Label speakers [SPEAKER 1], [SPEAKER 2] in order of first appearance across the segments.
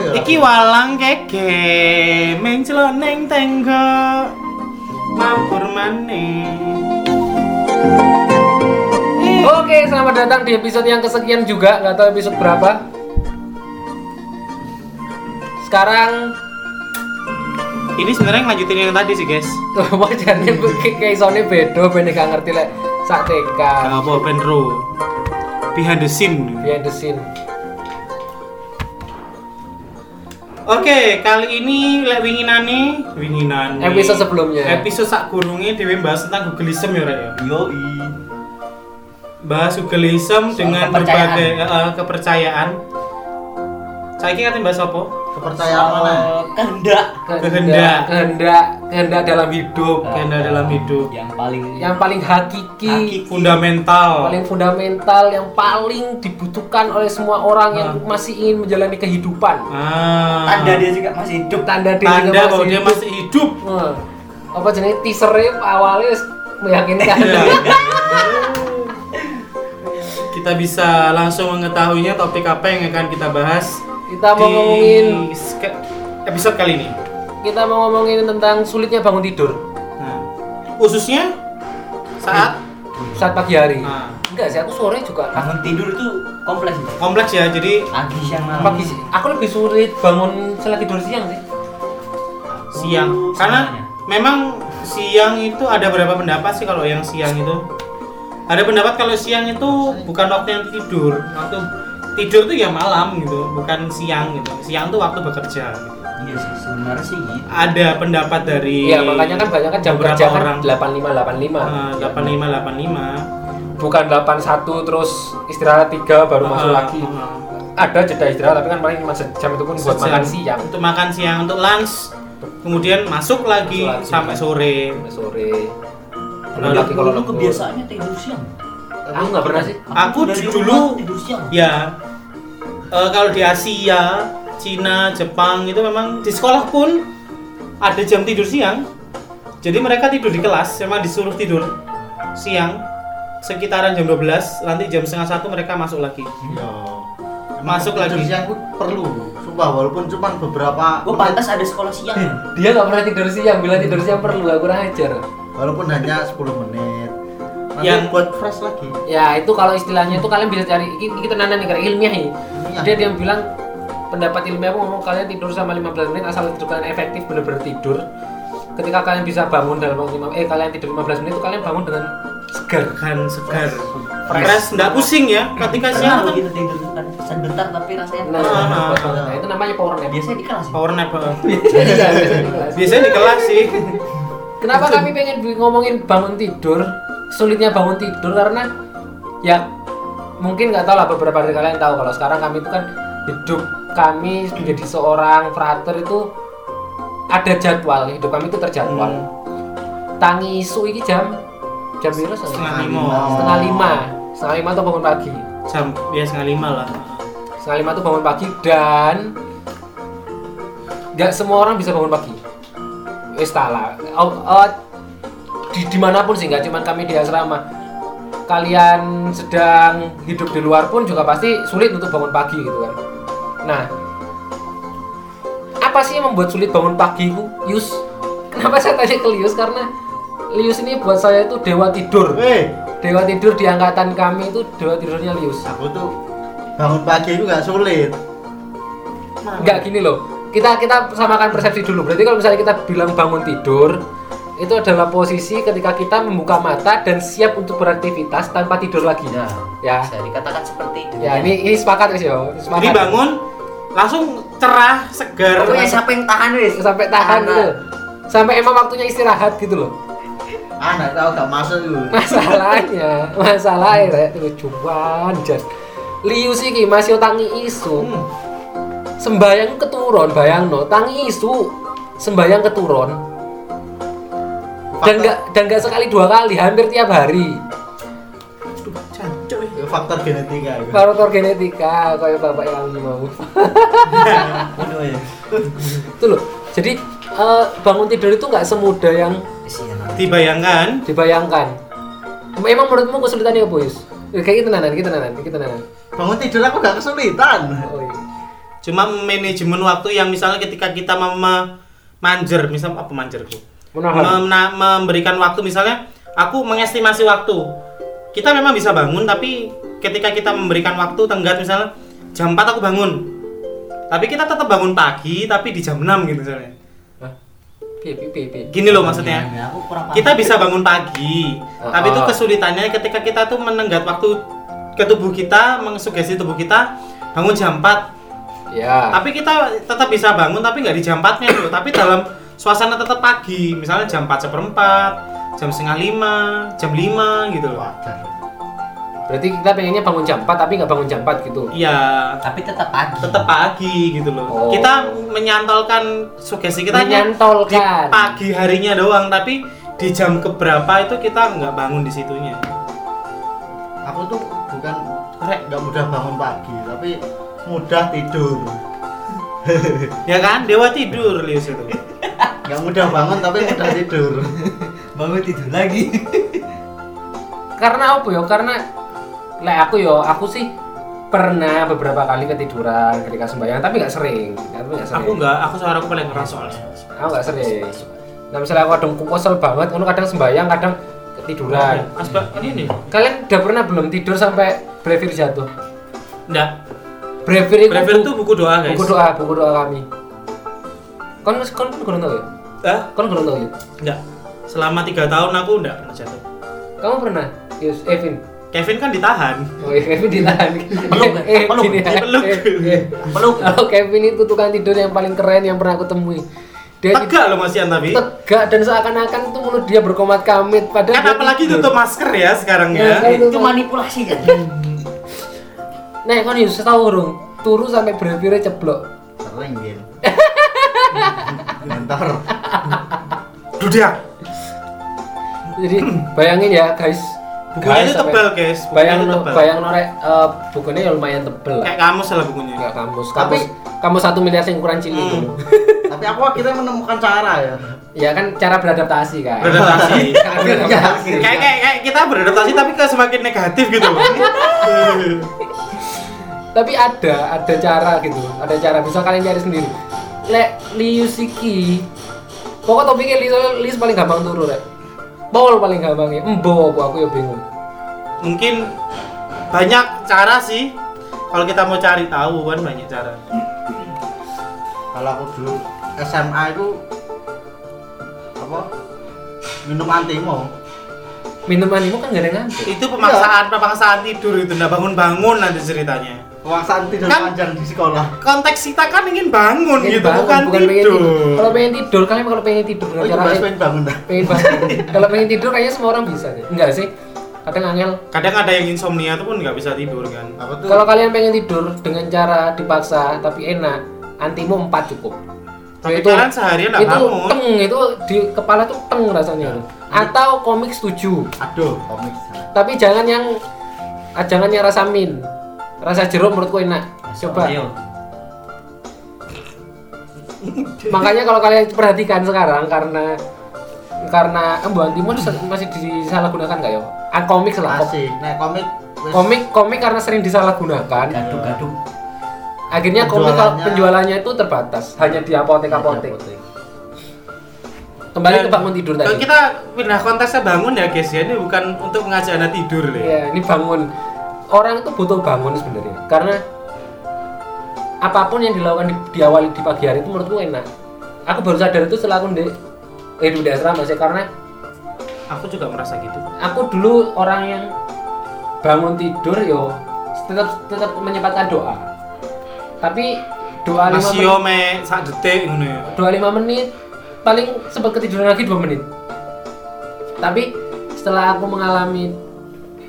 [SPEAKER 1] ya.
[SPEAKER 2] aneh
[SPEAKER 3] Oke, selamat datang di episode yang kesekian juga, nggak tahu episode berapa. Sekarang
[SPEAKER 2] ini sebenarnya ngelanjutin yang tadi sih guys
[SPEAKER 3] wajahnya kayak soalnya bedo, bener nggak ngerti lek sak TK,
[SPEAKER 2] Gak apa Penro behind the scene
[SPEAKER 3] behind the scene.
[SPEAKER 2] Oke, kali ini lek winginane, winginane.
[SPEAKER 3] Episode sebelumnya.
[SPEAKER 2] Episode sak gurunge dhewe bahas tentang Googleism ya, Rek ya.
[SPEAKER 4] Yoi.
[SPEAKER 2] Bahas Googleism dengan
[SPEAKER 4] kepercayaan.
[SPEAKER 2] berbagai eh, eh, kepercayaan. Saiki kate bahas apa?
[SPEAKER 4] Kepercayaan mana? Kehendak.
[SPEAKER 2] Kehendak.
[SPEAKER 3] kehendak, kehendak dalam hidup,
[SPEAKER 2] Agenda dalam hidup,
[SPEAKER 4] Yang paling
[SPEAKER 3] yang paling hakiki,
[SPEAKER 4] Hakiki.
[SPEAKER 2] fundamental.
[SPEAKER 3] paling fundamental, yang paling dibutuhkan oleh semua orang yang
[SPEAKER 2] Hmm.
[SPEAKER 3] masih ingin menjalani kehidupan.
[SPEAKER 2] Ah.
[SPEAKER 4] tanda dia juga masih hidup.
[SPEAKER 3] Tanda dia
[SPEAKER 2] Tanda
[SPEAKER 3] juga
[SPEAKER 2] bahwa dia
[SPEAKER 3] hidup.
[SPEAKER 2] masih hidup.
[SPEAKER 3] Nah, apa jenis teasernya awalnya wis kan. meyakinkan
[SPEAKER 2] Ya. Kita bisa langsung mengetahuinya topik apa yang akan kita bahas
[SPEAKER 3] kita mau
[SPEAKER 2] di
[SPEAKER 3] ngomongin
[SPEAKER 2] ske- episode kali ini.
[SPEAKER 3] kita mau ngomongin tentang sulitnya bangun tidur
[SPEAKER 2] Nah, khususnya saat
[SPEAKER 3] saat pagi hari
[SPEAKER 2] nah,
[SPEAKER 3] enggak sih aku sore juga
[SPEAKER 4] Bangun tidur itu kompleks. Bro.
[SPEAKER 2] kompleks ya, jadi
[SPEAKER 4] Pagi siang malam.
[SPEAKER 3] Ah, pagi sih aku lebih sulit bangun setelah tidur siang sih
[SPEAKER 2] siang. Karena memang siang itu ada beberapa pendapat sih kalau yang siang itu. Ada pendapat kalau siang itu bukan waktu yang tidur, waktu tidur itu ya malam gitu, bukan siang gitu. Siang tuh waktu bekerja. Gitu.
[SPEAKER 4] Iya sih sebenarnya sih gitu.
[SPEAKER 2] Ada pendapat dari
[SPEAKER 3] Iya makanya kan banyak kan jam
[SPEAKER 2] beberapa
[SPEAKER 3] kerja
[SPEAKER 2] orang.
[SPEAKER 3] kan 85 85
[SPEAKER 2] Ah, delapan lima delapan lima
[SPEAKER 3] bukan 81 terus istirahat 3
[SPEAKER 2] Ah,
[SPEAKER 3] baru masuk lagi ada jeda istirahat tapi kan paling cuma sejam itu pun buat makan siang
[SPEAKER 2] untuk makan siang untuk lunch kemudian masuk lagi,
[SPEAKER 3] Masuk lagi.
[SPEAKER 2] sampai sore
[SPEAKER 3] sore
[SPEAKER 2] Nah,
[SPEAKER 3] belum lagi kalau
[SPEAKER 4] Dulu
[SPEAKER 3] lembur.
[SPEAKER 4] kebiasaannya tidur siang.
[SPEAKER 3] aku nggak pernah sih
[SPEAKER 2] Aku
[SPEAKER 4] dari
[SPEAKER 2] dulu-
[SPEAKER 4] rumah tidur siang.
[SPEAKER 2] ya eh, kalau di Asia Cina Jepang itu memang di sekolah pun ada jam tidur siang jadi mereka tidur di kelas memang disuruh tidur siang sekitaran jam 12 nanti jam setengah satu mereka masuk lagi
[SPEAKER 1] Iya.
[SPEAKER 2] Masuk
[SPEAKER 1] Emang tidur
[SPEAKER 2] lagi. Oh,
[SPEAKER 1] siang tuh perlu, sumpah walaupun cuma beberapa
[SPEAKER 4] Gue
[SPEAKER 1] menit,
[SPEAKER 4] pantas ada sekolah siang.
[SPEAKER 2] Eh,
[SPEAKER 3] dia nggak pernah tidur siang bila tidur siang perlu aku kurang ajar
[SPEAKER 1] walaupun hanya 10 menit. Nanti
[SPEAKER 2] Yang-
[SPEAKER 1] buat fresh lagi.
[SPEAKER 3] ya itu kalau istilahnya itu kalian bisa cari ini kita nana nih karena ilmiah ini
[SPEAKER 1] Ilmiah.
[SPEAKER 3] dia dia bilang pendapat ilmiah aku ngomong kalian tidur sama 15 menit asal tidur kalian efektif bener-bener tidur ketika kalian bisa bangun dalam waktu lima- eh kalian tidur 15 menit itu kalian bangun dengan segar
[SPEAKER 2] kan segar
[SPEAKER 1] Fresh.
[SPEAKER 2] fresh nggak pusing ya ketika siang
[SPEAKER 4] Pernah
[SPEAKER 2] kan
[SPEAKER 4] gitu tidur kan sebentar tapi rasanya
[SPEAKER 3] nah,
[SPEAKER 4] pas.
[SPEAKER 2] Ah.
[SPEAKER 3] nah, itu namanya power nap
[SPEAKER 4] biasanya di kelas. ya?
[SPEAKER 2] power nap eh.
[SPEAKER 3] Iya, biasanya di kelas.
[SPEAKER 2] biasanya di kelas sih
[SPEAKER 3] Kenapa kami pengen bi- ngomongin bangun tidur? Sulitnya bangun tidur karena ya mungkin nggak tahu lah beberapa dari kalian tahu kalau sekarang kami itu kan hidup kami menjadi seorang frater itu ada jadwal hidup kami itu terjadwal. Tangi isu ini jam jam biru
[SPEAKER 2] setengah
[SPEAKER 3] setengah,
[SPEAKER 2] lima
[SPEAKER 3] setengah lima setengah lima tuh bangun pagi
[SPEAKER 2] jam ya setengah lima lah
[SPEAKER 3] setengah lima tuh bangun pagi dan nggak semua orang bisa bangun pagi wis tak lah. Oh, oh, di dimanapun sih nggak cuman kami di asrama kalian sedang hidup di luar pun juga pasti sulit untuk bangun pagi gitu kan nah apa sih yang membuat sulit bangun pagi Bu? Yus kenapa saya tanya ke Lius karena Lius ini buat saya itu dewa tidur
[SPEAKER 1] Weh,
[SPEAKER 3] dewa tidur di angkatan kami itu dewa tidurnya Lius
[SPEAKER 1] aku tuh bangun pagi itu nggak sulit.
[SPEAKER 3] Enggak gini loh. Kita kita samakan persepsi dulu. Berarti kalau misalnya kita bilang bangun tidur, itu adalah posisi ketika kita membuka mata dan siap untuk beraktivitas tanpa tidur lagi.
[SPEAKER 4] Nah,
[SPEAKER 3] Ya.
[SPEAKER 4] bisa dikatakan seperti itu.
[SPEAKER 3] Ya, ini ini sepakat guys ya. Ini Sepakat.
[SPEAKER 2] jadi bangun langsung cerah segar
[SPEAKER 4] Pokoknya siapa yang tahan wis?
[SPEAKER 3] sampai tahan
[SPEAKER 4] Anak.
[SPEAKER 3] gitu. Sampai emang waktunya istirahat gitu loh.
[SPEAKER 1] Anak tahu Ah, nggak masuk itu.
[SPEAKER 3] Masalahnya, ya, masalahnya rek lucuan jan. Liu sih ki masih tangi isu. Sembayang keturun, bayangno tangi isu sembayang keturun. dan nggak dan nggak sekali dua kali hampir tiap hari
[SPEAKER 1] Ya, faktor genetika. itu.
[SPEAKER 3] faktor genetika kayak bapak yang lagi mau
[SPEAKER 4] Waduh ya.
[SPEAKER 3] itu loh jadi eh, bangun tidur itu nggak semudah yang
[SPEAKER 4] Kesian.
[SPEAKER 2] dibayangkan
[SPEAKER 3] dibayangkan emang menurutmu kesulitannya apa Yus? Eh, kayak gitu nanan gitu nanan gitu nanan
[SPEAKER 1] Bangun tidur aku nggak kesulitan.
[SPEAKER 3] oh, iya.
[SPEAKER 2] cuma manajemen waktu yang misalnya ketika kita mama manjer misal apa manjer Bu?
[SPEAKER 3] Menahan.
[SPEAKER 2] Memna- memberikan waktu misalnya aku mengestimasi waktu kita memang bisa bangun tapi ketika kita memberikan waktu tenggat misalnya jam 4 aku bangun tapi kita tetap bangun pagi tapi di jam 6 gitu misalnya
[SPEAKER 3] Hah? Piye piye piye, piye.
[SPEAKER 2] gini loh maksudnya
[SPEAKER 4] Ya, aku kurang paham.
[SPEAKER 2] kita bisa bangun pagi
[SPEAKER 3] Oh,
[SPEAKER 2] tapi itu
[SPEAKER 3] oh.
[SPEAKER 2] kesulitannya ketika kita tuh menenggat waktu ke tubuh kita mengsugesti tubuh kita bangun jam 4
[SPEAKER 3] Ya.
[SPEAKER 2] tapi kita tetap bisa bangun tapi nggak di jam 4-nya dulu tapi dalam suasana tetap pagi misalnya jam 4 seperempat jam setengah lima jam 5 gitu loh
[SPEAKER 1] Wajar.
[SPEAKER 3] Berarti kita pengennya bangun jam 4 tapi nggak bangun jam 4 gitu.
[SPEAKER 2] iya
[SPEAKER 4] tapi tetap pagi.
[SPEAKER 2] tetap pagi gitu loh
[SPEAKER 3] Oh.
[SPEAKER 2] kita menyantolkan sugesti kita hanya di
[SPEAKER 3] Menyantolkan.
[SPEAKER 2] pagi harinya doang tapi di jam keberapa itu kita nggak bangun di situnya
[SPEAKER 1] Aku tuh bukan
[SPEAKER 2] Rek.
[SPEAKER 1] nggak mudah bangun pagi, tapi mudah tidur.
[SPEAKER 2] ya kan dewa tidur Lius itu
[SPEAKER 1] Nggak mudah bangun tapi mudah tidur.
[SPEAKER 4] Bangun tidur lagi.
[SPEAKER 3] karena apa ya karena lah aku yo aku sih pernah beberapa kali ketiduran ketika sembahyang tapi nggak sering tapi nggak sering
[SPEAKER 2] aku nggak aku suara aku paling keras soalnya
[SPEAKER 3] aku nggak sering nah misalnya aku kadang kesel banget aku kadang sembahyang kadang ketiduran
[SPEAKER 2] asbak ini nih
[SPEAKER 3] kalian udah pernah belum tidur sampai brevir jatuh
[SPEAKER 2] enggak
[SPEAKER 3] brevir itu
[SPEAKER 2] Breville
[SPEAKER 3] bu-
[SPEAKER 2] tuh buku doa guys
[SPEAKER 3] buku doa buku doa kami kon kon kurang tahu ya
[SPEAKER 2] Hah?
[SPEAKER 3] kon kurang tahu ya
[SPEAKER 2] Enggak. Selama tiga tahun aku enggak pernah jatuh.
[SPEAKER 3] kamu pernah Yus Evin
[SPEAKER 2] Kevin kan ditahan.
[SPEAKER 3] Oh iya, Kevin ditahan.
[SPEAKER 4] Peluk,
[SPEAKER 3] eh,
[SPEAKER 4] peluk,
[SPEAKER 3] gini ya.
[SPEAKER 2] dipeluk.
[SPEAKER 3] Eh, eh.
[SPEAKER 4] Peluk.
[SPEAKER 3] Kalau Kevin itu tukang tidur yang paling keren yang pernah aku temui. Dia
[SPEAKER 2] Tegak loh Mas Ian tapi.
[SPEAKER 3] itu tegak dan seakan-akan tuh mulut dia berkomat kamit. Padahal
[SPEAKER 2] Kan
[SPEAKER 3] dia
[SPEAKER 2] apalagi
[SPEAKER 3] tidur.
[SPEAKER 2] tutup masker ya sekarang
[SPEAKER 3] Iya,
[SPEAKER 2] ya.
[SPEAKER 3] Itu
[SPEAKER 4] Itu manipulasi kan.
[SPEAKER 3] Iya. Nah, kan Yus tahu dong. Turu sampai berakhirnya ceblok.
[SPEAKER 1] Sering gitu. Bentar.
[SPEAKER 2] Dudak.
[SPEAKER 3] Jadi bayangin ya guys.
[SPEAKER 2] Bukunya
[SPEAKER 3] Guys,
[SPEAKER 2] itu
[SPEAKER 3] sampai-
[SPEAKER 2] tebal guys. Bukunya
[SPEAKER 3] Bayang
[SPEAKER 2] itu tebal.
[SPEAKER 3] bayang norek eh, bukunya ya lumayan tebel lah.
[SPEAKER 2] Kayak kamus lah bukunya.
[SPEAKER 3] Enggak kamus. Kamus
[SPEAKER 1] Tapi-
[SPEAKER 3] kamus satu miliar sing kurang cilik
[SPEAKER 2] Hmm.
[SPEAKER 3] itu.
[SPEAKER 1] tapi aku akhirnya menemukan cara ya
[SPEAKER 3] Ya kan cara beradaptasi kan.
[SPEAKER 2] Beradaptasi.
[SPEAKER 3] Cara beradaptasi.
[SPEAKER 2] kayak, kayak kayak kita beradaptasi tapi ke semakin negatif gitu loh.
[SPEAKER 3] tapi ada ada cara gitu ada cara bisa kalian cari sendiri lek lius iki pokok topiknya lius, lius paling gampang turu rek bol paling gampangnya embo aku aku ya bingung
[SPEAKER 2] Mungkin banyak cara sih. Kalau kita mau cari tahu kan banyak cara.
[SPEAKER 1] kalau aku dulu SMA itu apa minum antimo
[SPEAKER 3] minum animo kan gak ada ngantuk
[SPEAKER 2] Itu pemaksaan pemaksaan tidur itu nggak bangun-bangun nanti ceritanya.
[SPEAKER 1] kewasaan tidur
[SPEAKER 2] Kan-
[SPEAKER 1] panjang di sekolah
[SPEAKER 2] konteks kita kan ingin
[SPEAKER 1] Iya,
[SPEAKER 2] bangun
[SPEAKER 3] Pengen
[SPEAKER 2] gitu
[SPEAKER 3] bangun,
[SPEAKER 2] bukan,
[SPEAKER 3] pengen
[SPEAKER 2] tidur.
[SPEAKER 3] kalau pengen tidur kalian kalau pengen tidur
[SPEAKER 1] kan oh
[SPEAKER 3] dengan
[SPEAKER 1] itu
[SPEAKER 3] cara
[SPEAKER 1] bahas pengen bangun dah
[SPEAKER 3] pengen bangun kalau pengen tidur kayaknya semua orang bisa deh enggak sih kadang angel
[SPEAKER 2] Kadang ada yang insomnia tuh pun nggak bisa tidur kan.
[SPEAKER 1] apa tuh
[SPEAKER 3] kalau kalian pengen tidur dengan cara dipaksa tapi enak antimo 4 cukup
[SPEAKER 2] Tapi kalian seharian nggak
[SPEAKER 3] itu
[SPEAKER 2] bangun.
[SPEAKER 3] teng itu di kepala tuh teng rasanya atau komik setuju
[SPEAKER 1] aduh komik
[SPEAKER 3] tapi jangan yang ah, jangan yang rasa min rasa jeruk menurutku enak coba
[SPEAKER 4] Ayo.
[SPEAKER 3] makanya kalau kalian perhatikan sekarang karena karena eh, embuan timun masih disalahgunakan nggak ya ah, komik lah kom-
[SPEAKER 1] masih nah komik wis-
[SPEAKER 3] komik komik karena sering disalahgunakan
[SPEAKER 4] Gaduh-gaduh.
[SPEAKER 3] akhirnya komik kalau
[SPEAKER 1] Penjualannya-
[SPEAKER 3] Kan. penjualannya itu terbatas hanya di apotek apotek kembali ke bangun tidur
[SPEAKER 2] Kalau
[SPEAKER 3] tadi
[SPEAKER 2] kita pindah konteksnya bangun ya guys ya ini bukan untuk mengajak anda tidur ya.
[SPEAKER 3] Iya, ini bangun. Orang itu butuh bangun sebenarnya. Karena apapun yang dilakukan di, diawali di pagi hari itu menurutku enak. Aku baru sadar itu setelah aku di hidup di asrama sih karena
[SPEAKER 2] Aku juga merasa gitu.
[SPEAKER 3] aku dulu orang yang bangun tidur yo tetap tetap menyempatkan doa. Tapi doa lima
[SPEAKER 2] Masih yo me
[SPEAKER 3] menit,
[SPEAKER 2] sak detik ngono ya.
[SPEAKER 3] doa lima menit paling sempat ketiduran lagi dua menit. tapi setelah aku mengalami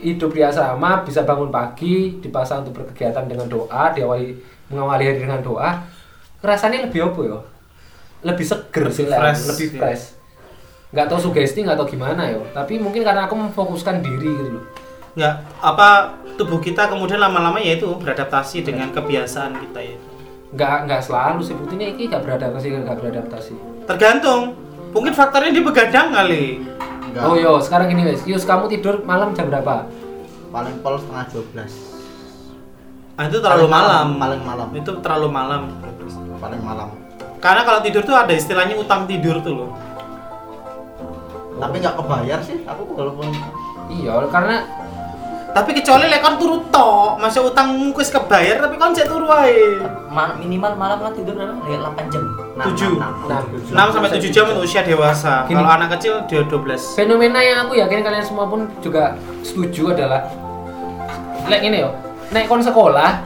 [SPEAKER 3] hidup di asrama bisa bangun pagi dipaksa untuk berkegiatan dengan doa diawali mengawali hari dengan doa rasanya lebih apa ya lebih seger
[SPEAKER 2] Lebih
[SPEAKER 3] sih lah
[SPEAKER 2] fresh,
[SPEAKER 3] lebih
[SPEAKER 2] ya.
[SPEAKER 3] fresh nggak tahu sugesti nggak tahu gimana yo tapi mungkin karena aku memfokuskan diri gitu loh
[SPEAKER 2] Nggak apa tubuh kita kemudian lama-lama ya itu beradaptasi dengan kebiasaan kita ya.
[SPEAKER 3] nggak nggak selalu sih buktinya ini nggak beradaptasi nggak beradaptasi
[SPEAKER 2] Tergantung. Mungkin faktornya dia begadang kali.
[SPEAKER 1] enggak
[SPEAKER 3] oh yo sekarang gini wes Yus kamu tidur malam jam berapa
[SPEAKER 1] paling pol setengah 12
[SPEAKER 2] Ah, itu terlalu
[SPEAKER 1] Paling malam,
[SPEAKER 2] malam.
[SPEAKER 1] paling malam.
[SPEAKER 2] Itu terlalu malam.
[SPEAKER 1] paling malam
[SPEAKER 2] Karena kalau tidur tuh ada istilahnya utang tidur tuh loh.
[SPEAKER 1] tapi nggak kebayar sih aku walaupun
[SPEAKER 3] iya karena
[SPEAKER 2] Tapi kecuali lek kon turu tok, masa utangmu wis kebayar tapi kon cek turu wae.
[SPEAKER 4] Ma- minimal malam lah tidur berapa? Ya, 8 jam. Enam,
[SPEAKER 2] Tujuh.
[SPEAKER 4] enam,
[SPEAKER 3] Enam.
[SPEAKER 4] enam, tujuh.
[SPEAKER 2] 6 sampai 7 jam untuk usia dewasa.
[SPEAKER 3] Gini.
[SPEAKER 2] Kalau anak kecil dia 12.
[SPEAKER 3] fenomena yang aku yakin kalian semua pun juga setuju adalah lek ini yo naik kon sekolah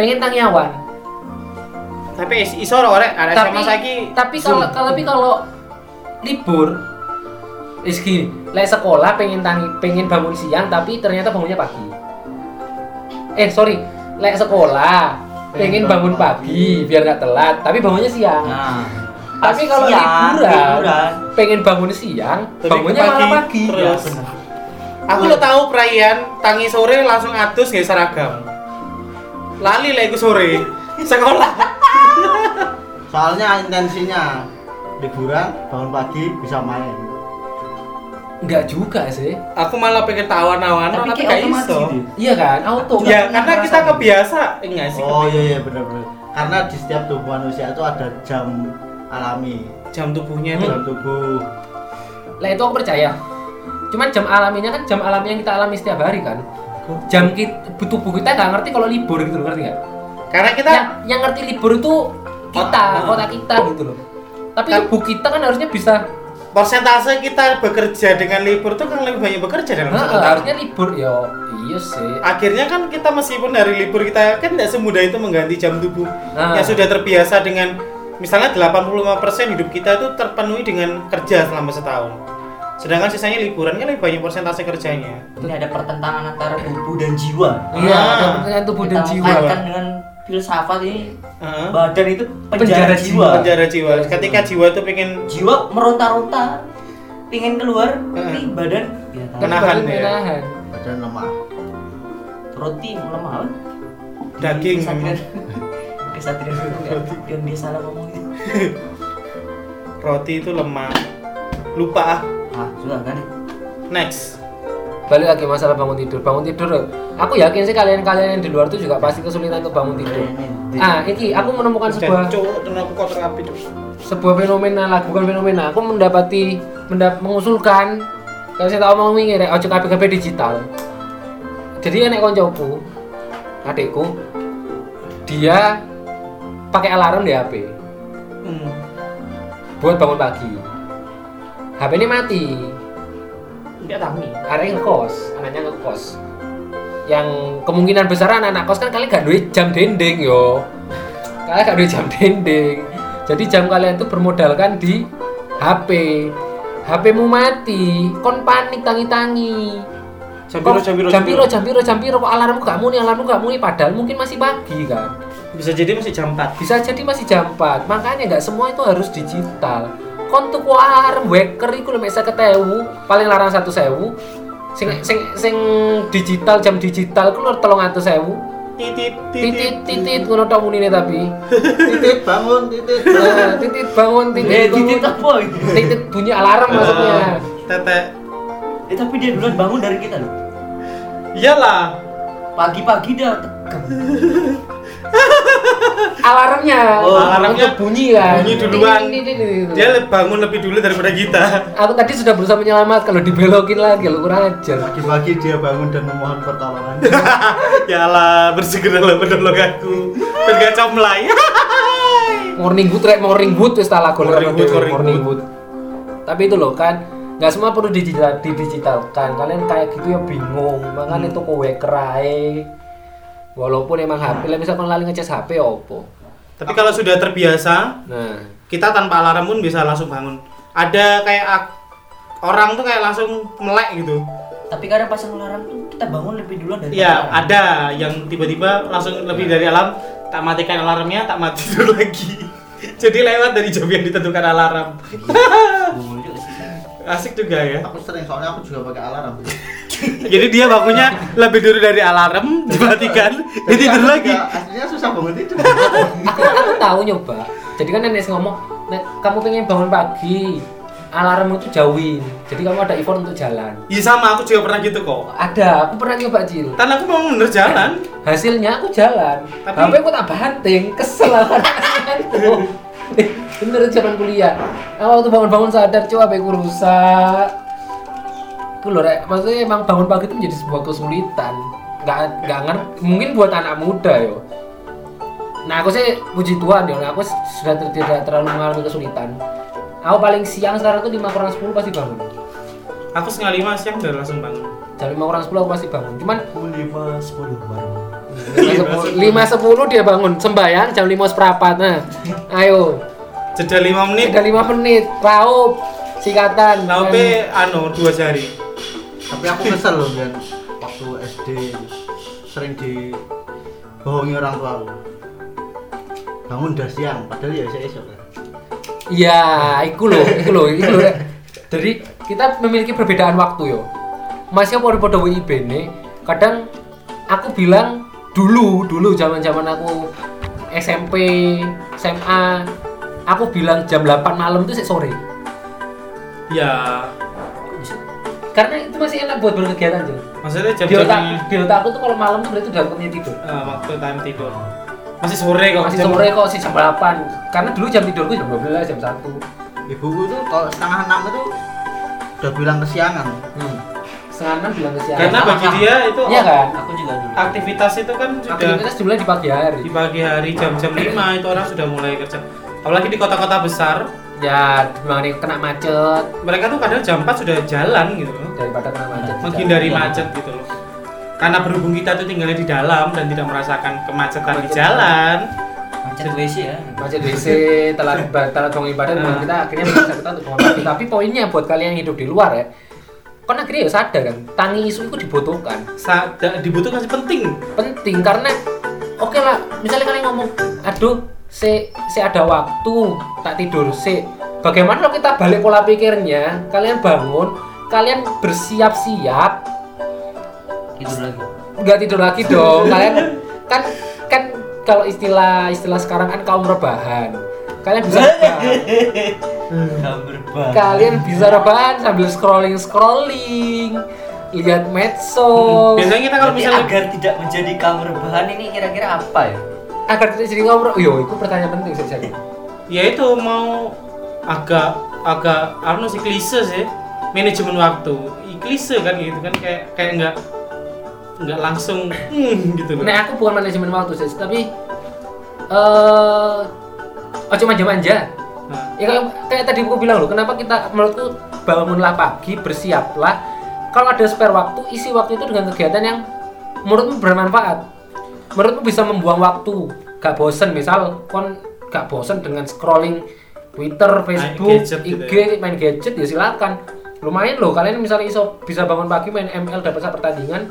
[SPEAKER 3] pengen tangyawan
[SPEAKER 2] Tapi is- iso ora orek arek
[SPEAKER 3] tapi
[SPEAKER 2] SMA saiki.
[SPEAKER 3] tapi kalau kalau- tapi kalau libur is gini lek sekolah pengen tangi pengen bangun siang tapi ternyata bangunnya pagi eh sorry lek sekolah
[SPEAKER 1] Pengen
[SPEAKER 3] pengen, bangun
[SPEAKER 1] bangun
[SPEAKER 3] pagi, biar nggak telat tapi bangunnya siang
[SPEAKER 4] Nah.
[SPEAKER 3] tapi kalau
[SPEAKER 4] Siang,
[SPEAKER 3] liburan
[SPEAKER 4] liburan.
[SPEAKER 3] pengen bangun siang
[SPEAKER 2] Tapi
[SPEAKER 3] bangunnya
[SPEAKER 2] pagi
[SPEAKER 3] malah pagi
[SPEAKER 2] terus.
[SPEAKER 3] Ya, benar.
[SPEAKER 2] Aku lo tahu perayaan tangi sore langsung atus nggak seragam. Lali lah iku sore. Sekolah.
[SPEAKER 1] soalnya intensinya liburan bangun pagi bisa main
[SPEAKER 3] nggak juga sih
[SPEAKER 2] Aku malah pengen tawan-tawan
[SPEAKER 4] Tapi
[SPEAKER 2] tapi
[SPEAKER 4] kayak
[SPEAKER 2] gak
[SPEAKER 4] otomatis
[SPEAKER 2] iso.
[SPEAKER 4] gitu.
[SPEAKER 3] iya kan auto
[SPEAKER 2] Ya
[SPEAKER 3] kan?
[SPEAKER 2] karena kita kebiasa enggak sih.
[SPEAKER 1] oh iya iya benar-benar karena di setiap tubuh manusia itu ada jam alami
[SPEAKER 2] Jam tubuhnya itu
[SPEAKER 1] jam tubuh
[SPEAKER 3] lah itu aku percaya cuman jam alaminya kan jam alami yang kita alami setiap hari kan jam kita tubuh kita nggak ngerti kalau libur gitu loh ngerti nggak
[SPEAKER 2] karena kita
[SPEAKER 3] yang, yang ngerti libur itu kita
[SPEAKER 2] Otak.
[SPEAKER 3] otak kita gitu loh tapi
[SPEAKER 2] Kan-
[SPEAKER 3] tubuh kita kan harusnya bisa
[SPEAKER 2] persentase kita bekerja dengan libur tuh kan lebih banyak bekerja dalam
[SPEAKER 3] Heeh,
[SPEAKER 2] satu tahun.
[SPEAKER 3] harusnya libur ya iya sih
[SPEAKER 2] akhirnya kan kita meskipun hari libur kita kan tidak semudah itu mengganti jam tubuh
[SPEAKER 3] Ah.
[SPEAKER 2] yang sudah terbiasa dengan misalnya 85% hidup kita itu terpenuhi dengan kerja selama setahun sedangkan sisanya liburan kan lebih banyak persentase kerjanya
[SPEAKER 4] Ini ada pertentangan antara tubuh dan jiwa.
[SPEAKER 3] iya
[SPEAKER 2] Ah.
[SPEAKER 3] ada pertanyaan tubuh dan
[SPEAKER 4] Kita
[SPEAKER 3] jiwa
[SPEAKER 4] kaitkan dengan filsafat ini
[SPEAKER 2] Heeh.
[SPEAKER 4] badan itu penjara,
[SPEAKER 3] Penjara
[SPEAKER 4] jiwa.
[SPEAKER 2] penjara jiwa ketika jiwa itu pengen
[SPEAKER 4] Jiwa meronta-ronta, pingin keluar, tapi
[SPEAKER 2] Heeh.
[SPEAKER 4] badan ya, tahu.
[SPEAKER 2] Kena- Menahan
[SPEAKER 3] Badan
[SPEAKER 2] ya.
[SPEAKER 3] menahan.
[SPEAKER 1] badan lemah
[SPEAKER 4] roti lemah. kan?
[SPEAKER 2] Daging.
[SPEAKER 4] Kesatrian. Kesatrian dulu ya. Yang dia salah ngomong itu.
[SPEAKER 2] roti itu lemah lupa ah
[SPEAKER 4] Ah, sudah kan?
[SPEAKER 2] next
[SPEAKER 3] balik lagi masalah bangun tidur bangun tidur aku yakin sih kalian-kalian yang di luar tuh juga pasti kesulitan untuk bangun tidur
[SPEAKER 4] ya.
[SPEAKER 3] ah ini aku menemukan
[SPEAKER 2] dan
[SPEAKER 3] sebuah
[SPEAKER 2] cowok dan aku kotor api Cuk.
[SPEAKER 3] sebuah fenomena lah bukan fenomena aku mendapati mendap mengusulkan kalau saya tahu mau ngomongin rek ojo kabeh kabeh digital jadi enek koncoku adikku dia pakai alarm di HP
[SPEAKER 2] Hmm.
[SPEAKER 3] buat bangun pagi HP ini mati
[SPEAKER 2] dia tangi
[SPEAKER 3] anaknya ngekos anaknya ngekos yang kemungkinan besar anak-anak kos kan kalian gak duit jam dendeng yo kalian gak duit jam dendeng jadi jam kalian tuh bermodalkan di HP HPmu mati kon panik tangi-tangi
[SPEAKER 2] jam biru
[SPEAKER 3] Kok-
[SPEAKER 2] jam biru
[SPEAKER 3] jam piro jam piro jam piro kok alarmku gak muni alarmku gak muni padahal mungkin masih pagi kan
[SPEAKER 2] bisa jadi masih jam 4
[SPEAKER 3] bisa jadi masih jam 4 makanya nggak semua itu harus digital kon tuku alarm waker iku lho mesa ketewu paling larang satu sewu sing sing sing digital jam digital ku lho tolong atus sewu
[SPEAKER 2] titit
[SPEAKER 3] titit titit ngono tok munine tapi
[SPEAKER 1] titit bangun titit
[SPEAKER 3] Eh, titit bangun
[SPEAKER 4] Eh,
[SPEAKER 3] titit
[SPEAKER 4] titik
[SPEAKER 3] bangun.
[SPEAKER 4] apa gitu? itu?
[SPEAKER 3] titit bunyi alarm maksudnya
[SPEAKER 2] Eh, tetek
[SPEAKER 4] Eh, tapi dia duluan bangun dari kita loh.
[SPEAKER 2] iyalah
[SPEAKER 4] Pagi-pagi dia tegang.
[SPEAKER 3] alarmnya
[SPEAKER 2] Oh, alarmnya
[SPEAKER 3] Untuk bunyi kan
[SPEAKER 2] bunyi duluan.
[SPEAKER 3] Titit, titit, titit.
[SPEAKER 2] dia le- bangun lebih dulu daripada kita
[SPEAKER 3] aku tadi sudah berusaha menyelamat kalau dibelokin lagi lo kurang ajar
[SPEAKER 1] pagi-pagi dia bangun dan memohon pertolongan
[SPEAKER 2] Yalah, bersegeralah menolong aku. Bergacam melay.
[SPEAKER 3] Morning Wood rek Morning Wood wis tak lagu
[SPEAKER 2] Morning Wood, Morning
[SPEAKER 3] Wood. Tapi itu loh kan nggak semua perlu digital, didigitalkan. Kalian kayak gitu ya bingung.
[SPEAKER 2] Hmm.
[SPEAKER 3] Makanya itu kowe kerai. Walaupun emang HP, lah misalkan lali ngecas HP ya opo.
[SPEAKER 2] Tapi kalau sudah terbiasa,
[SPEAKER 3] Nah,
[SPEAKER 2] kita tanpa alarm pun bisa langsung bangun. Ada kayak ak- orang tuh kayak langsung melek gitu.
[SPEAKER 4] tapi kadang pas ngelarang tuh kita bangun lebih duluan dari
[SPEAKER 2] Iya, ada yang tiba-tiba langsung lebih dari alarm, tak matikan alarmnya, tak mati dulu lagi. Jadi lewat dari jam yang ditentukan alarm. Asik juga ya.
[SPEAKER 1] aku sering soalnya aku juga pakai alarm
[SPEAKER 2] Jadi dia bangunnya lebih dulu dari alarm, dimatikan, dia tidur
[SPEAKER 1] Aku
[SPEAKER 2] lagi.
[SPEAKER 1] juga aslinya susah bangun tidur
[SPEAKER 3] aku aku tahu nyoba. Jadi kan nenek ngomong, "Nek, kamu pengen bangun pagi, alarmmu itu jauhin. Jadi kamu ada effort untuk jalan.
[SPEAKER 2] Iya sama, aku juga pernah gitu kok.
[SPEAKER 3] Ada, aku pernah nyoba Cil.
[SPEAKER 2] Karena aku memang bener jalan.
[SPEAKER 3] hasilnya aku jalan
[SPEAKER 2] Tapi-
[SPEAKER 3] tapi aku tak banting kesel aku bener itu zaman kuliah aku waktu bangun-bangun sadar coba HP ku rusak itu loh Rek. maksudnya emang bangun pagi itu menjadi sebuah kesulitan nggak nggak ngerti mungkin buat anak muda yo nah aku sih puji Tuhan ya aku sudah ter- tidak terlalu mengalami kesulitan aku paling siang sekarang tuh 5 kurang 10 pasti bangun
[SPEAKER 2] Aku setengah lima siang udah langsung bangun.
[SPEAKER 3] jam 5 kurang 10 aku pasti bangun cuman
[SPEAKER 4] Pukul lima sepuluh baru.
[SPEAKER 3] lima sepuluh dia bangun sembahyang jam lima seperempat nah ayo
[SPEAKER 2] Jeda lima menit.
[SPEAKER 3] ada lima menit raup sikatan
[SPEAKER 2] Laupe anu dua jari.
[SPEAKER 1] tapi aku kesel loh kan waktu SD sering dibohongi orang tua aku bangun udah siang padahal ya saya esok kan
[SPEAKER 3] iya iku loh iku loh iku loh jadi kita memiliki perbedaan waktu yo masih pada pada WIB nih kadang aku bilang dulu dulu zaman zaman aku SMP SMA aku bilang jam 8 malam itu sik sore
[SPEAKER 2] Ya,
[SPEAKER 3] karena itu masih enak buat berkegiatan Jeng.
[SPEAKER 2] maksudnya jam
[SPEAKER 3] di
[SPEAKER 2] jam eh,
[SPEAKER 3] otak di otak aku tuh kalau malam tuh berarti udah waktunya tidur
[SPEAKER 2] waktu time tidur. Masih sore kok.
[SPEAKER 3] masih
[SPEAKER 2] Ya, jam-
[SPEAKER 3] sore kok sih jam 8 karena dulu jam tidurku jam 12 jam 1
[SPEAKER 1] ibuku tuh kalau setengah enam itu udah bilang kesiangan
[SPEAKER 3] hmm. setengah 6 bilang ke siang
[SPEAKER 2] Karena bagi dia itu
[SPEAKER 3] iya kan
[SPEAKER 4] Aku juga dulu.
[SPEAKER 2] aktivitas itu kan sudah
[SPEAKER 3] aktivitas dimulai di pagi hari
[SPEAKER 2] di pagi hari jam-jam 5 itu orang sudah mulai kerja. Apalagi di kota-kota besar,
[SPEAKER 3] ya mengenai kena macet
[SPEAKER 2] mereka tuh kadang jam 4 sudah jalan gitu loh.
[SPEAKER 3] daripada kena macet di
[SPEAKER 2] Menghindari
[SPEAKER 3] jalan.
[SPEAKER 2] macet gitu loh. Karena berhubung kita tuh tinggalnya di dalam dan tidak merasakan kemacetan di
[SPEAKER 3] Kemacetan.
[SPEAKER 2] jalan,
[SPEAKER 4] Macet WC ya.
[SPEAKER 3] macet WC telat ba- telat bangun ibadah
[SPEAKER 2] Nah.
[SPEAKER 3] buat kita akhirnya memaksa kita untuk bangun pagi. tapi poinnya buat kalian yang hidup di luar ya kan akhirnya ya sadar kan tangi isu itu dibutuhkan
[SPEAKER 2] sa- da- dibutuhkan sih penting.
[SPEAKER 3] penting karena oke lah misalnya kalian ngomong aduh se se ada waktu tak tidur se bagaimana kalau kita balik pola pikirnya kalian bangun kalian bersiap-siap
[SPEAKER 4] Tidur lagi.
[SPEAKER 3] nggak tidur lagi dong kalian kan kan kalau istilah istilah sekarang kan kaum rebahan kalian bisa rebahan.
[SPEAKER 4] Gak berubah.
[SPEAKER 3] kalian bisa rebahan sambil scrolling scrolling lihat medsos
[SPEAKER 2] Biasanya kita kalau
[SPEAKER 4] Tapi
[SPEAKER 2] misalnya
[SPEAKER 4] agar tidak menjadi kamar bahan ini kira-kira apa ya?
[SPEAKER 3] agar tidak jadi kaum re- yo itu pertanyaan penting sih jadi
[SPEAKER 2] ya itu mau agak agak anu sih klise sih manajemen waktu I- klise kan gitu kan kayak kayak nggak nggak langsung hmm, gitu loh
[SPEAKER 3] Nah, aku bukan manajemen waktu sih, tapi eh oh cuma manja
[SPEAKER 2] Nah,
[SPEAKER 3] Ya kayak, kayak tadi aku bilang loh, kenapa kita menurutku bangunlah pagi, bersiaplah. Kalau ada spare waktu, isi waktu itu dengan kegiatan yang menurutmu bermanfaat. Menurutmu bisa membuang waktu, gak bosen misal kon gak bosen dengan scrolling Twitter, Facebook,
[SPEAKER 2] gadget
[SPEAKER 3] IG,
[SPEAKER 2] gitu
[SPEAKER 3] main gadget ya silakan. Lumayan loh kalian misalnya iso bisa bangun pagi main ML dapat satu pertandingan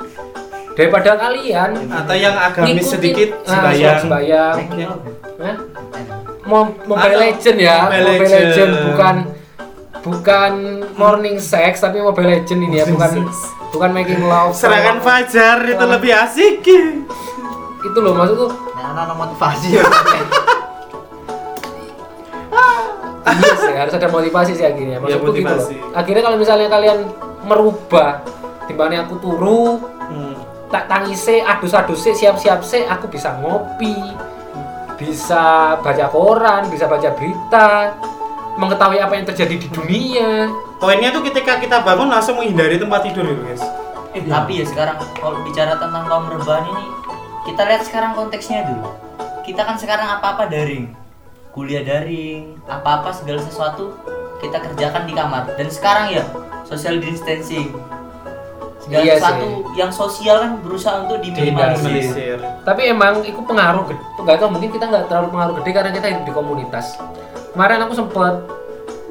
[SPEAKER 3] daripada kalian
[SPEAKER 2] atau yang agamis
[SPEAKER 3] ngikutin-
[SPEAKER 2] sedikit
[SPEAKER 3] Ah,
[SPEAKER 2] sembayang
[SPEAKER 3] sembayang.
[SPEAKER 2] Ya.
[SPEAKER 3] Hah? Mo- Mobile
[SPEAKER 2] Atau
[SPEAKER 3] Legend ya,
[SPEAKER 2] Mobile
[SPEAKER 3] Mobile,
[SPEAKER 2] Legend.
[SPEAKER 3] Legend. bukan bukan morning sex tapi Mobile Legend ini ya, bukan bukan making love.
[SPEAKER 2] serangan fajar itu
[SPEAKER 3] Wah.
[SPEAKER 2] lebih asik
[SPEAKER 3] Itu loh maksudku.
[SPEAKER 1] nah anak motivasi ya
[SPEAKER 3] Iya sih, harus ada motivasi sih akhirnya. Maksudku gitu loh.
[SPEAKER 2] Iya, motivasi.
[SPEAKER 3] Akhirnya kalau misalnya kalian merubah timbangannya aku turu,
[SPEAKER 2] Hmm.
[SPEAKER 3] tak tangise, adus-adus sih, siap-siap sih, aku bisa ngopi, bisa baca koran, bisa baca berita, mengetahui apa yang terjadi di dunia.
[SPEAKER 2] poinnya tuh ketika kita bangun langsung menghindari tempat tidur gitu guys
[SPEAKER 4] Eh, tapi ya sekarang kalau bicara tentang kaum rebahan ini, kita lihat sekarang konteksnya dulu. Kita kan sekarang apa-apa daring, kuliah daring, apa-apa segala sesuatu kita kerjakan di kamar. Dan sekarang ya social distancing, segala
[SPEAKER 3] Iya
[SPEAKER 4] sesuatu yang sosial kan berusaha untuk diminimalisir.
[SPEAKER 2] minimalisir
[SPEAKER 3] tapi emang itu pengaruh gede nggak tahu mungkin kita nggak terlalu pengaruh gede karena kita hidup di komunitas kemarin aku sempet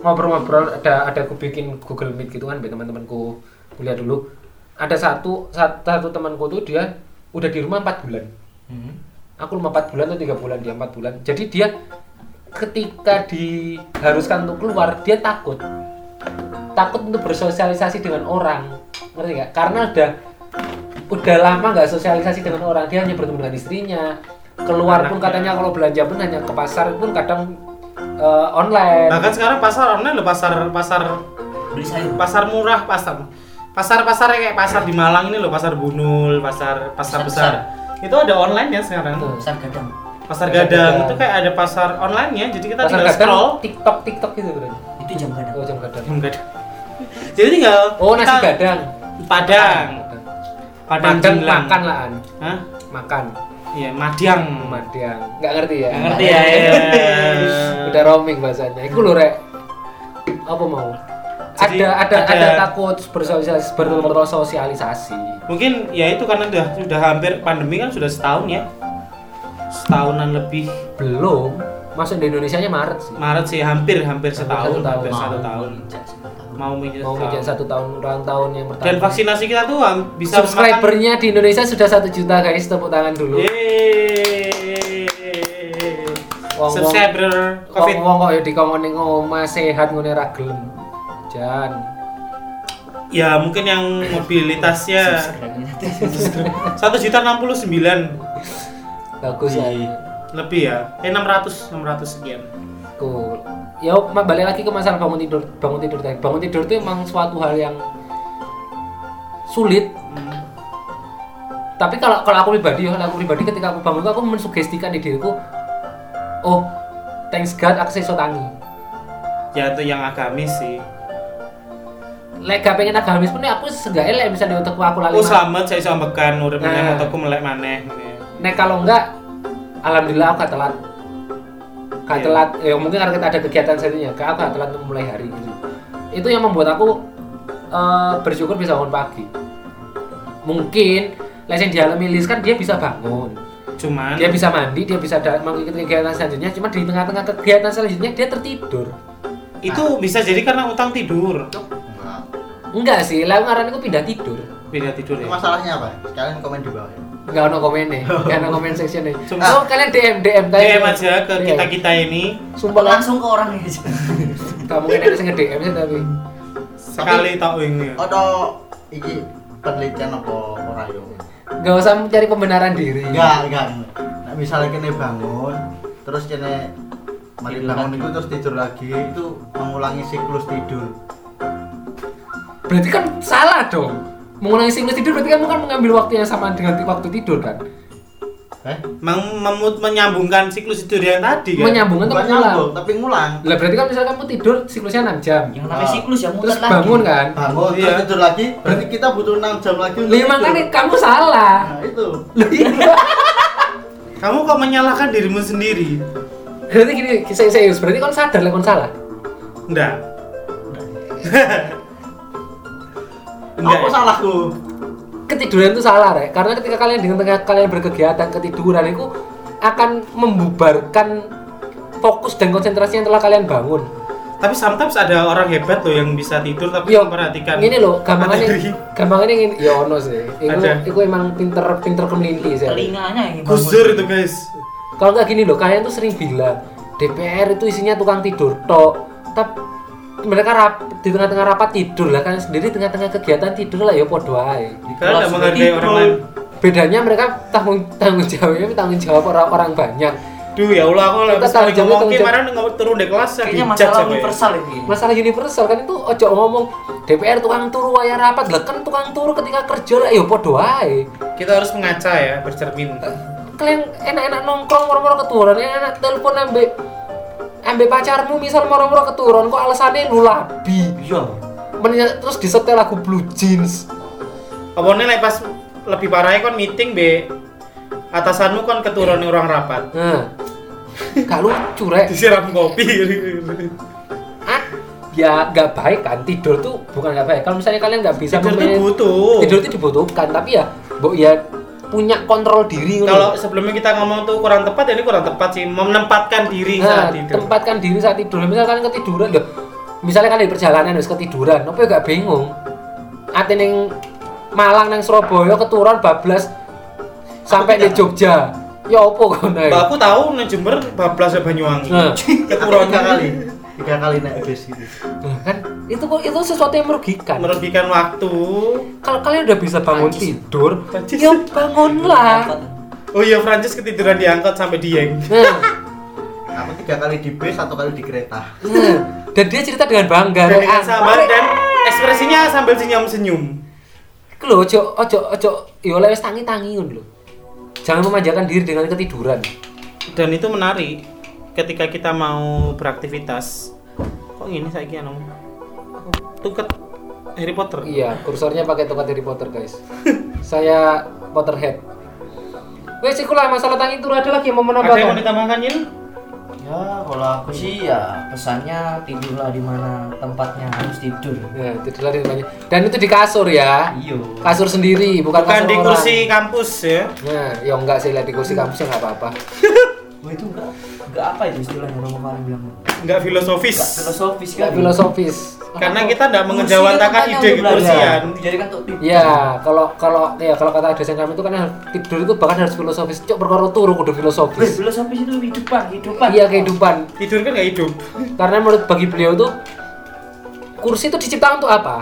[SPEAKER 3] ngobrol-ngobrol ada ada aku bikin Google Meet gitu kan biar teman-temanku kuliah dulu ada satu sat- satu temanku tuh dia udah di rumah 4 bulan
[SPEAKER 4] Hmm.
[SPEAKER 3] aku rumah 4 bulan atau tiga bulan dia 4 bulan jadi dia ketika diharuskan untuk keluar dia takut takut untuk bersosialisasi dengan orang ngerti nggak karena udah udah lama nggak sosialisasi dengan orang dia hanya bertemu dengan istrinya keluar
[SPEAKER 2] Anaknya.
[SPEAKER 3] pun katanya kalau belanja pun hanya ke pasar pun kadang eh, online
[SPEAKER 2] bahkan sekarang pasar online loh pasar pasar
[SPEAKER 4] Beli sayur.
[SPEAKER 2] pasar murah pasar pasar pasar kayak pasar di Malang ini loh pasar Bunul pasar pasar
[SPEAKER 4] Pasar
[SPEAKER 2] besar itu ada online ya sekarang
[SPEAKER 3] Betul.
[SPEAKER 4] besar gadang
[SPEAKER 2] pasar gadang itu kayak ada pasar online nya jadi kita
[SPEAKER 3] pasar
[SPEAKER 2] tinggal
[SPEAKER 3] gadang,
[SPEAKER 2] scroll
[SPEAKER 3] tiktok tiktok gitu berarti
[SPEAKER 4] itu jam gadang
[SPEAKER 3] oh jam gadang
[SPEAKER 2] Jam gadang. jadi tinggal
[SPEAKER 3] oh nasi
[SPEAKER 2] kita-
[SPEAKER 3] gadang
[SPEAKER 2] padang padang
[SPEAKER 3] makan
[SPEAKER 2] jinglang.
[SPEAKER 3] makan lah an
[SPEAKER 2] Hah?
[SPEAKER 3] makan
[SPEAKER 2] iya madiang
[SPEAKER 3] Madiang nggak ngerti ya
[SPEAKER 2] Nggak ngerti ya, ya.
[SPEAKER 3] udah roaming bahasanya itu lho rek apa mau
[SPEAKER 2] Jadi,
[SPEAKER 3] ada, ada
[SPEAKER 2] ada-
[SPEAKER 3] ada takut bersosialisasi bersosialisasi
[SPEAKER 2] mungkin ya itu karena udah sudah hampir pandemi kan sudah setahun ya setahunan lebih
[SPEAKER 3] belum masuk di Indonesia nya Maret sih
[SPEAKER 2] Maret sih hampir hampir setahun
[SPEAKER 3] tahun.
[SPEAKER 2] hampir satu tahun
[SPEAKER 4] Injak satu tahun.
[SPEAKER 2] mau menginjak
[SPEAKER 3] mau bikin
[SPEAKER 2] setahun.
[SPEAKER 3] satu tahun ulang tahun yang pertama
[SPEAKER 2] Iya, dan vaksinasi kita tuh ham- bisa memakan-
[SPEAKER 3] subscribernya di Indonesia sudah satu juta guys tepuk tangan dulu
[SPEAKER 2] Iya, Yeay.
[SPEAKER 3] Wong-wong-
[SPEAKER 2] subscriber covid
[SPEAKER 3] Wong-wong kok ya dikongkon ning omah sehat ngene ra gelem. Jan.
[SPEAKER 2] ya mungkin yang mobilitasnya
[SPEAKER 4] kan
[SPEAKER 2] satu juta enam puluh sembilan
[SPEAKER 3] Bagus
[SPEAKER 2] Iya.
[SPEAKER 3] ya.
[SPEAKER 2] lebih ya eh 600 600 sekian
[SPEAKER 3] Cool. Ya, ma- balik lagi ke masalah bangun tidur. Bangun tidur tadi. Bangun tidur itu emang suatu hal yang sulit.
[SPEAKER 2] Hmm.
[SPEAKER 3] Tapi kalau kalau aku pribadi, kalau aku pribadi ketika aku bangun aku mensugestikan di diriku, oh, thanks God aku seso tangi.
[SPEAKER 2] ya itu yang agamis sih
[SPEAKER 3] Lek gak pengen agamis pun ya aku seenggaknya lek misalnya otakku aku lali.
[SPEAKER 2] aku
[SPEAKER 3] ma-
[SPEAKER 2] Oh, selamat saya sambekan urip
[SPEAKER 3] Nah.
[SPEAKER 2] meneh otakku melek maneh
[SPEAKER 3] Nek kalau enggak, alhamdulillah aku gak telat. Gak
[SPEAKER 2] Iya.
[SPEAKER 3] telat, ya mungkin karena kita ada kegiatan satunya, gak aku gak telat untuk mulai hari gitu. Itu yang membuat aku eh, bersyukur bisa bangun pagi. Mungkin lesen dialami Lilis kan dia bisa bangun,
[SPEAKER 2] cuman
[SPEAKER 3] dia bisa mandi, dia bisa da- mengikuti kegiatan selanjutnya. Cuma di tengah-tengah kegiatan selanjutnya dia tertidur.
[SPEAKER 2] itu bisa jadi karena utang tidur
[SPEAKER 1] Nah,
[SPEAKER 3] Enggak sih, lalu ngaran aku pindah tidur.
[SPEAKER 2] beda tidur
[SPEAKER 1] itu
[SPEAKER 2] ya
[SPEAKER 1] masalahnya apa? Kalian komen di bawah. ya.
[SPEAKER 3] Enggak ono komennya, enggak ono komen sectionnya.
[SPEAKER 2] Sumpah.
[SPEAKER 3] Oh, kalian DM DM tanya.
[SPEAKER 2] DM aja ke
[SPEAKER 3] Iya.
[SPEAKER 2] kita kita ini
[SPEAKER 3] Sumpah langsung.
[SPEAKER 4] langsung ke orangnya aja
[SPEAKER 3] Gak mungkin ada yang nge-DM sih tapi.
[SPEAKER 2] sekali tak wingnya
[SPEAKER 1] Atau iki penelitian apa ora yo?
[SPEAKER 3] Gak usah mencari pembenaran diri.
[SPEAKER 1] Enggak, enggak. Nah, misalnya kene bangun, terus kene mari
[SPEAKER 4] Tidur
[SPEAKER 1] bangun
[SPEAKER 4] lagi.
[SPEAKER 1] itu terus tidur lagi itu mengulangi siklus tidur.
[SPEAKER 3] Berarti kan salah dong. Mengulangi siklus tidur berarti kamu kan mengambil waktu yang sama dengan ti- waktu tidur kan.
[SPEAKER 1] Eh?
[SPEAKER 2] Mem- memut- menyambungkan siklus tidur yang tadi kan
[SPEAKER 3] Menyambungan tuh
[SPEAKER 1] Bukan
[SPEAKER 3] mengulang.
[SPEAKER 1] nyambung, tapi ngulang.
[SPEAKER 3] Lah berarti kan misalnya kamu tidur siklusnya 6 jam.
[SPEAKER 4] yang namanya
[SPEAKER 1] Ah.
[SPEAKER 4] siklus ya muter
[SPEAKER 3] Terus
[SPEAKER 4] lagi
[SPEAKER 3] bangun kan.
[SPEAKER 1] Bangun
[SPEAKER 2] Iya.
[SPEAKER 1] terus tidur lagi, berarti kita butuh 6 jam lagi untuk
[SPEAKER 3] Lima
[SPEAKER 1] tidur.
[SPEAKER 3] kali kamu salah.
[SPEAKER 1] Nah, itu.
[SPEAKER 3] Lah, iya.
[SPEAKER 2] kamu kok menyalahkan dirimu sendiri
[SPEAKER 3] berarti gini, saya serius, berarti kan sadar lah kon salah.
[SPEAKER 2] enggak enggak
[SPEAKER 1] Apa
[SPEAKER 2] ya?
[SPEAKER 1] salahku?
[SPEAKER 3] Ketiduran itu salah, Rek. Karena ketika kalian dengan tengah kalian berkegiatan ketiduran itu akan membubarkan fokus dan konsentrasi yang telah kalian bangun.
[SPEAKER 2] tapi sometimes ada orang hebat loh yang bisa tidur tapi
[SPEAKER 3] Yo,
[SPEAKER 2] memperhatikan
[SPEAKER 3] Ini loh, gampangannya
[SPEAKER 2] materi.
[SPEAKER 3] gampangannya ngene, ya ono sih. Iku
[SPEAKER 2] Ada.
[SPEAKER 3] iku emang pinter pinter kemelinti sih.
[SPEAKER 4] telinganya yang bangun.
[SPEAKER 2] Gus Dur itu guys
[SPEAKER 3] Kalau nggak gini loh, kalian tuh sering bilang DPR itu isinya tukang tidur tok. Tapi mereka rap- di tengah-tengah rapat tidur lah kalian sendiri di tengah-tengah kegiatan tidur lah ya podo ae.
[SPEAKER 2] kalian
[SPEAKER 4] Kelas
[SPEAKER 2] tidak menghargai
[SPEAKER 4] tidur.
[SPEAKER 2] orang lain
[SPEAKER 3] Bedanya mereka tanggung tanggung jawabnya tanggung jawab orang-orang banyak.
[SPEAKER 2] Duh ya Allah aku lah
[SPEAKER 3] Kita
[SPEAKER 2] sekali
[SPEAKER 3] tahu jam,
[SPEAKER 2] ngomong
[SPEAKER 3] tahu
[SPEAKER 2] ki
[SPEAKER 3] jam.
[SPEAKER 2] kemarin ngomong turun di kelas ya
[SPEAKER 4] kayaknya
[SPEAKER 2] dijudge
[SPEAKER 4] masalah
[SPEAKER 2] aku ya.
[SPEAKER 4] universal ini
[SPEAKER 3] Masalah universal kan itu ojo ngomong DPR tukang turu wayah rapat lah kan tukang turu ketika kerja lah ya podo ae.
[SPEAKER 2] Kita harus mengaca ya bercermin.
[SPEAKER 3] kalian enak-enak nongkrong moro-moro keturun enak telepon ambek ambek pacarmu misal moro-moro keturun kok alasannya lu labi
[SPEAKER 4] iya
[SPEAKER 3] Menya- terus disetel lagu blue jeans
[SPEAKER 2] Apalagi lek pas lebih parahnya kon meeting be atasanmu kon keturunan orang rapat
[SPEAKER 3] nah gak lucu rek
[SPEAKER 2] disiram kopi.
[SPEAKER 3] ah ya gak baik kan tidur tuh bukan gak baik kalau misalnya kalian gak bisa
[SPEAKER 2] Tidur tuh
[SPEAKER 3] memanage-
[SPEAKER 2] butuh.
[SPEAKER 3] ya? tidur tuh dibutuhkan tapi ya mbok ya punya kontrol diri ngono.
[SPEAKER 2] Kalau sebelumnya kita ngomong tuh kurang tepat, ya ini kurang tepat sih. Menempatkan diri
[SPEAKER 3] nah,
[SPEAKER 2] saat tidur.
[SPEAKER 3] tempatkan diri saat tidur misalnya kalian ketiduran loh misalnya kalian di perjalanan harus ketiduran apa ya gak bingung ate neng Malang neng Surabaya keturun bablas sampai di Jogja ya opo kono
[SPEAKER 2] Mbak
[SPEAKER 3] ae.
[SPEAKER 2] aku tahu nang Jember bablas ya Banyuwangi.
[SPEAKER 3] nah
[SPEAKER 2] Keturunan
[SPEAKER 1] tiga kali. Tiga kali naik bis gitu.
[SPEAKER 3] nah kan itu kok itu sesuatu yang merugikan
[SPEAKER 2] merugikan waktu.
[SPEAKER 3] kalau kalian udah bisa bangun
[SPEAKER 4] Najis.
[SPEAKER 3] tidur
[SPEAKER 2] Najis.
[SPEAKER 3] ya bangunlah
[SPEAKER 2] Oh iya Francis ketiduran diangkut sampai dieng.
[SPEAKER 3] nah,
[SPEAKER 1] Aku tiga kali di bis, satu kali di kereta.
[SPEAKER 3] nah. dan dia cerita dengan bangga
[SPEAKER 2] Dan
[SPEAKER 3] Rek.
[SPEAKER 2] dengan
[SPEAKER 3] Ah,
[SPEAKER 2] sabar dan ekspresinya sambil senyum-senyum.
[SPEAKER 3] Iku lho ojo ojo ojo yo lewes tangi tangi ngono lho. Jangan memanjakan diri dengan ketiduran.
[SPEAKER 2] dan itu menarik ketika kita mau beraktivitas kok ini saya kira tuket Harry Potter
[SPEAKER 3] Iya, kursornya pakai tempat Harry Potter, guys. Saya Potterhead. Wes ikulah masalah tang itu ada lagi yang mau
[SPEAKER 2] ada yang mau
[SPEAKER 3] menambahkan.
[SPEAKER 2] ditambahkan Yil?
[SPEAKER 4] ya kalau aku sih ya pesannya tidurlah di mana tempatnya harus tidur
[SPEAKER 3] Ya, tidurlah di rumahnya. Dan itu di kasur ya.
[SPEAKER 4] iyo
[SPEAKER 3] Kasur sendiri,
[SPEAKER 2] bukan
[SPEAKER 3] bukan, kasur
[SPEAKER 2] di
[SPEAKER 3] orang.
[SPEAKER 2] kursi kampus ya
[SPEAKER 3] Nah, ya enggak sih lihat di kursi kampusnya enggak apa-apa.
[SPEAKER 4] Wah, Oh, itu enggak enggak apa itu istilahnya Romo kemarin bilang
[SPEAKER 2] nggak filosofis
[SPEAKER 4] enggak filosofis
[SPEAKER 3] Enggak
[SPEAKER 4] kan
[SPEAKER 3] filosofis.
[SPEAKER 2] Iya. karena
[SPEAKER 3] Apa?
[SPEAKER 2] kita tidak mengejawantakan
[SPEAKER 3] kan
[SPEAKER 2] ide Iya. kekursian
[SPEAKER 4] dijadikan untuk tidur
[SPEAKER 3] Ya, kalau kalau ya kalau kata dosen kami itu kan tidur itu bahkan harus filosofis. Cok perkara turu kudu
[SPEAKER 4] Weh,
[SPEAKER 3] filosofis.
[SPEAKER 4] filosofis itu kehidupan kehidupan
[SPEAKER 3] Iya kehidupan.
[SPEAKER 2] tidur kan nggak hidup
[SPEAKER 3] Karena menurut bagi beliau tuh kursi itu diciptakan untuk apa?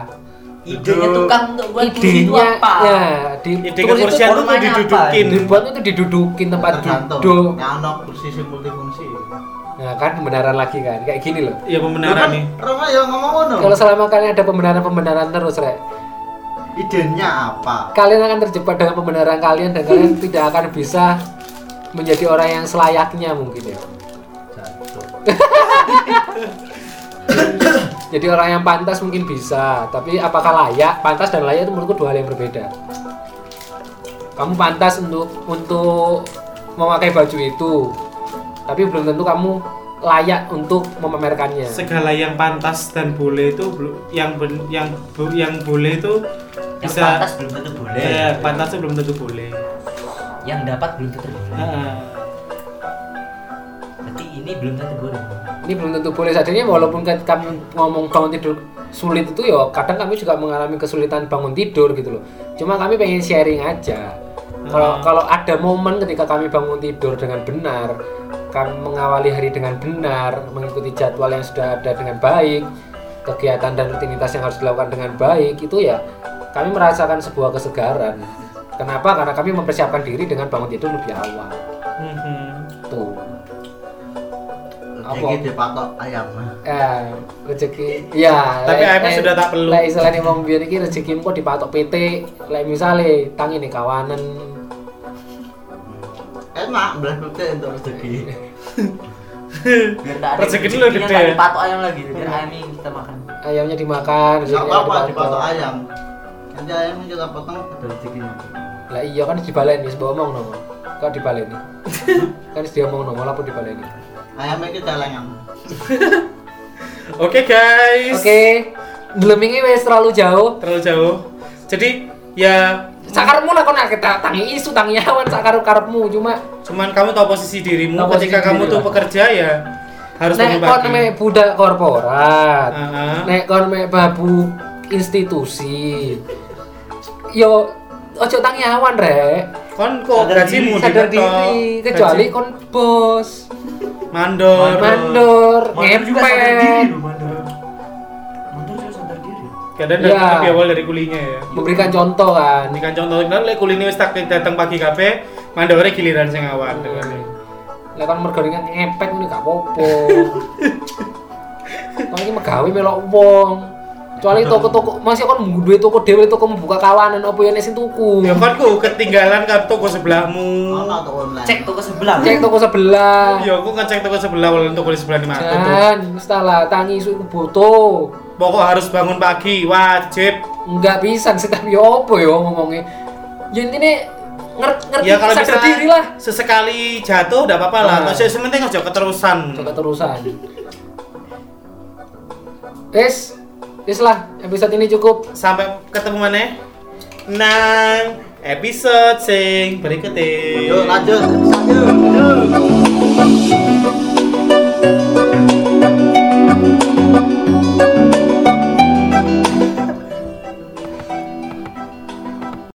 [SPEAKER 4] idenya tukang untuk buat kursi itu
[SPEAKER 3] idenya
[SPEAKER 4] apa
[SPEAKER 2] iya.
[SPEAKER 3] ya di
[SPEAKER 2] ide kekursian
[SPEAKER 3] kursi itu
[SPEAKER 2] itu mau
[SPEAKER 4] formanya apa?
[SPEAKER 2] didudukin
[SPEAKER 3] dibuat itu didudukin tempat duduk
[SPEAKER 1] tergantung nyano kursi sing multifungsi
[SPEAKER 3] nah kan pembenaran lagi kan kayak gini loh
[SPEAKER 2] ya pembenaran nih
[SPEAKER 1] Roma ya ngomong ngono
[SPEAKER 3] kalau selama kalian ada pembenaran-pembenaran terus rek
[SPEAKER 1] idenya apa
[SPEAKER 3] kalian akan terjebak dengan pembenaran kalian dan kalian tidak akan bisa menjadi orang yang selayaknya mungkin ya
[SPEAKER 1] jatuh
[SPEAKER 3] jadi orang yang pantas mungkin bisa tapi apakah layak pantas dan layak itu menurutku dua hal yang berbeda kamu pantas untuk untuk memakai baju itu tapi belum tentu kamu layak untuk memamerkannya
[SPEAKER 2] segala yang pantas dan boleh itu belum yang ben- yang bu- yang boleh itu
[SPEAKER 4] yang
[SPEAKER 2] bisa
[SPEAKER 4] pantas belum tentu boleh
[SPEAKER 3] Eh.
[SPEAKER 2] ya, pantas itu belum tentu boleh
[SPEAKER 4] yang dapat belum tentu boleh
[SPEAKER 2] Heeh.
[SPEAKER 4] berarti ini belum tentu boleh
[SPEAKER 3] ini belum tentu boleh sadarnya walaupun kan kami ngomong bangun tidur sulit itu ya kadang kami juga mengalami kesulitan bangun tidur gitu loh cuma kami pengen sharing aja kalau kalau ada momen ketika kami bangun tidur dengan benar kami mengawali hari dengan benar mengikuti jadwal yang sudah ada dengan baik kegiatan dan rutinitas yang harus dilakukan dengan baik itu ya kami merasakan sebuah kesegaran kenapa karena kami mempersiapkan diri dengan bangun tidur lebih awal
[SPEAKER 2] Mhm.
[SPEAKER 3] tuh Apa?
[SPEAKER 1] jadi dipatok ayam
[SPEAKER 3] eh rezeki ya
[SPEAKER 2] Tapi
[SPEAKER 3] lek-
[SPEAKER 2] ayamnya
[SPEAKER 3] lek-
[SPEAKER 2] sudah tak perlu.
[SPEAKER 3] lek istilahnya wong biyen iki rezeki engko dipatok PT lek misale tangi nih kawanan
[SPEAKER 1] enak belah putih untuk rezeki
[SPEAKER 4] biar tak ada
[SPEAKER 2] Rezeki dulu
[SPEAKER 4] rezekinya,
[SPEAKER 2] gede.
[SPEAKER 4] tak ada patok ayam lagi biar ayam ini kita makan
[SPEAKER 3] ayamnya dimakan
[SPEAKER 1] nggak
[SPEAKER 3] rezekinya
[SPEAKER 1] apa-apa
[SPEAKER 3] dipatok.
[SPEAKER 1] dipatok ayam nanti ayamnya kita potong ada rezekinya
[SPEAKER 3] lah iya kan dibaleni wis omong nomo kok dibaleni kan dia omong nomo lapo dibaleni
[SPEAKER 1] ayamnya kita lengan
[SPEAKER 2] oke guys
[SPEAKER 3] oke delemingi wis terlalu jauh
[SPEAKER 2] terlalu jauh jadi ya
[SPEAKER 3] sakarmu lah kok nak kita tangi isu tangi awan sakarup karepmu cuma
[SPEAKER 2] cuman kamu tahu posisi dirimu
[SPEAKER 3] Tahu posisi
[SPEAKER 2] ketika kamu
[SPEAKER 3] diri
[SPEAKER 2] tuh
[SPEAKER 3] lah. Nah,
[SPEAKER 2] pekerja ya harus Ah,
[SPEAKER 3] nek
[SPEAKER 2] bangun
[SPEAKER 3] kon
[SPEAKER 2] pagi.
[SPEAKER 3] mek budak korporat
[SPEAKER 2] Heeh.
[SPEAKER 3] nek kon mek babu institusi yo ojo tangi awan rek
[SPEAKER 2] kon kok
[SPEAKER 4] Sadar
[SPEAKER 2] gajimu
[SPEAKER 4] diri,
[SPEAKER 3] sadar
[SPEAKER 2] dipetok,
[SPEAKER 3] diri kecuali
[SPEAKER 2] gaji-
[SPEAKER 3] kon bos
[SPEAKER 2] mandor Kan
[SPEAKER 3] mandor
[SPEAKER 4] Mandor juga sadar diri
[SPEAKER 3] ngepet
[SPEAKER 4] loh mandor mandor juga sadar diri
[SPEAKER 2] kadang
[SPEAKER 3] Iya.
[SPEAKER 2] dari tapi awal dari kulinya ya
[SPEAKER 3] memberikan contoh kan
[SPEAKER 2] ini kan contoh kan lek kuline wis tak datang pagi kabeh mandore giliran sing awal dengan
[SPEAKER 3] lah kan mergoringan ngepet ini gak apa-apa kon ini megawe melok wong kecuali toko-toko masih kon duwe toko dhewe toko membuka kawanan apa yang sing tuku
[SPEAKER 2] ya kan ku ketinggalan kan toko sebelahmu
[SPEAKER 1] ono atau online
[SPEAKER 4] cek toko sebelah
[SPEAKER 3] cek toko sebelah
[SPEAKER 2] ya aku ngecek toko sebelah walaupun toko di sebelah ini mati tuh
[SPEAKER 3] dan setelah tangi isu iku butuh
[SPEAKER 2] pokok harus bangun pagi wajib
[SPEAKER 3] nggak bisa sih tapi apa ya ngomongnya ya ini ngerti ngerti
[SPEAKER 2] ya kalau
[SPEAKER 3] sadar
[SPEAKER 2] bisa
[SPEAKER 3] diri lah
[SPEAKER 2] sesekali jatuh enggak apa-apa lah
[SPEAKER 3] Ah.
[SPEAKER 2] maksudnya sementing aja keterusan
[SPEAKER 3] coba terusan Wes, wes lah episode ini cukup
[SPEAKER 2] sampai ketemu mana nang episode sing berikutnya
[SPEAKER 1] yuk lanjut lanjut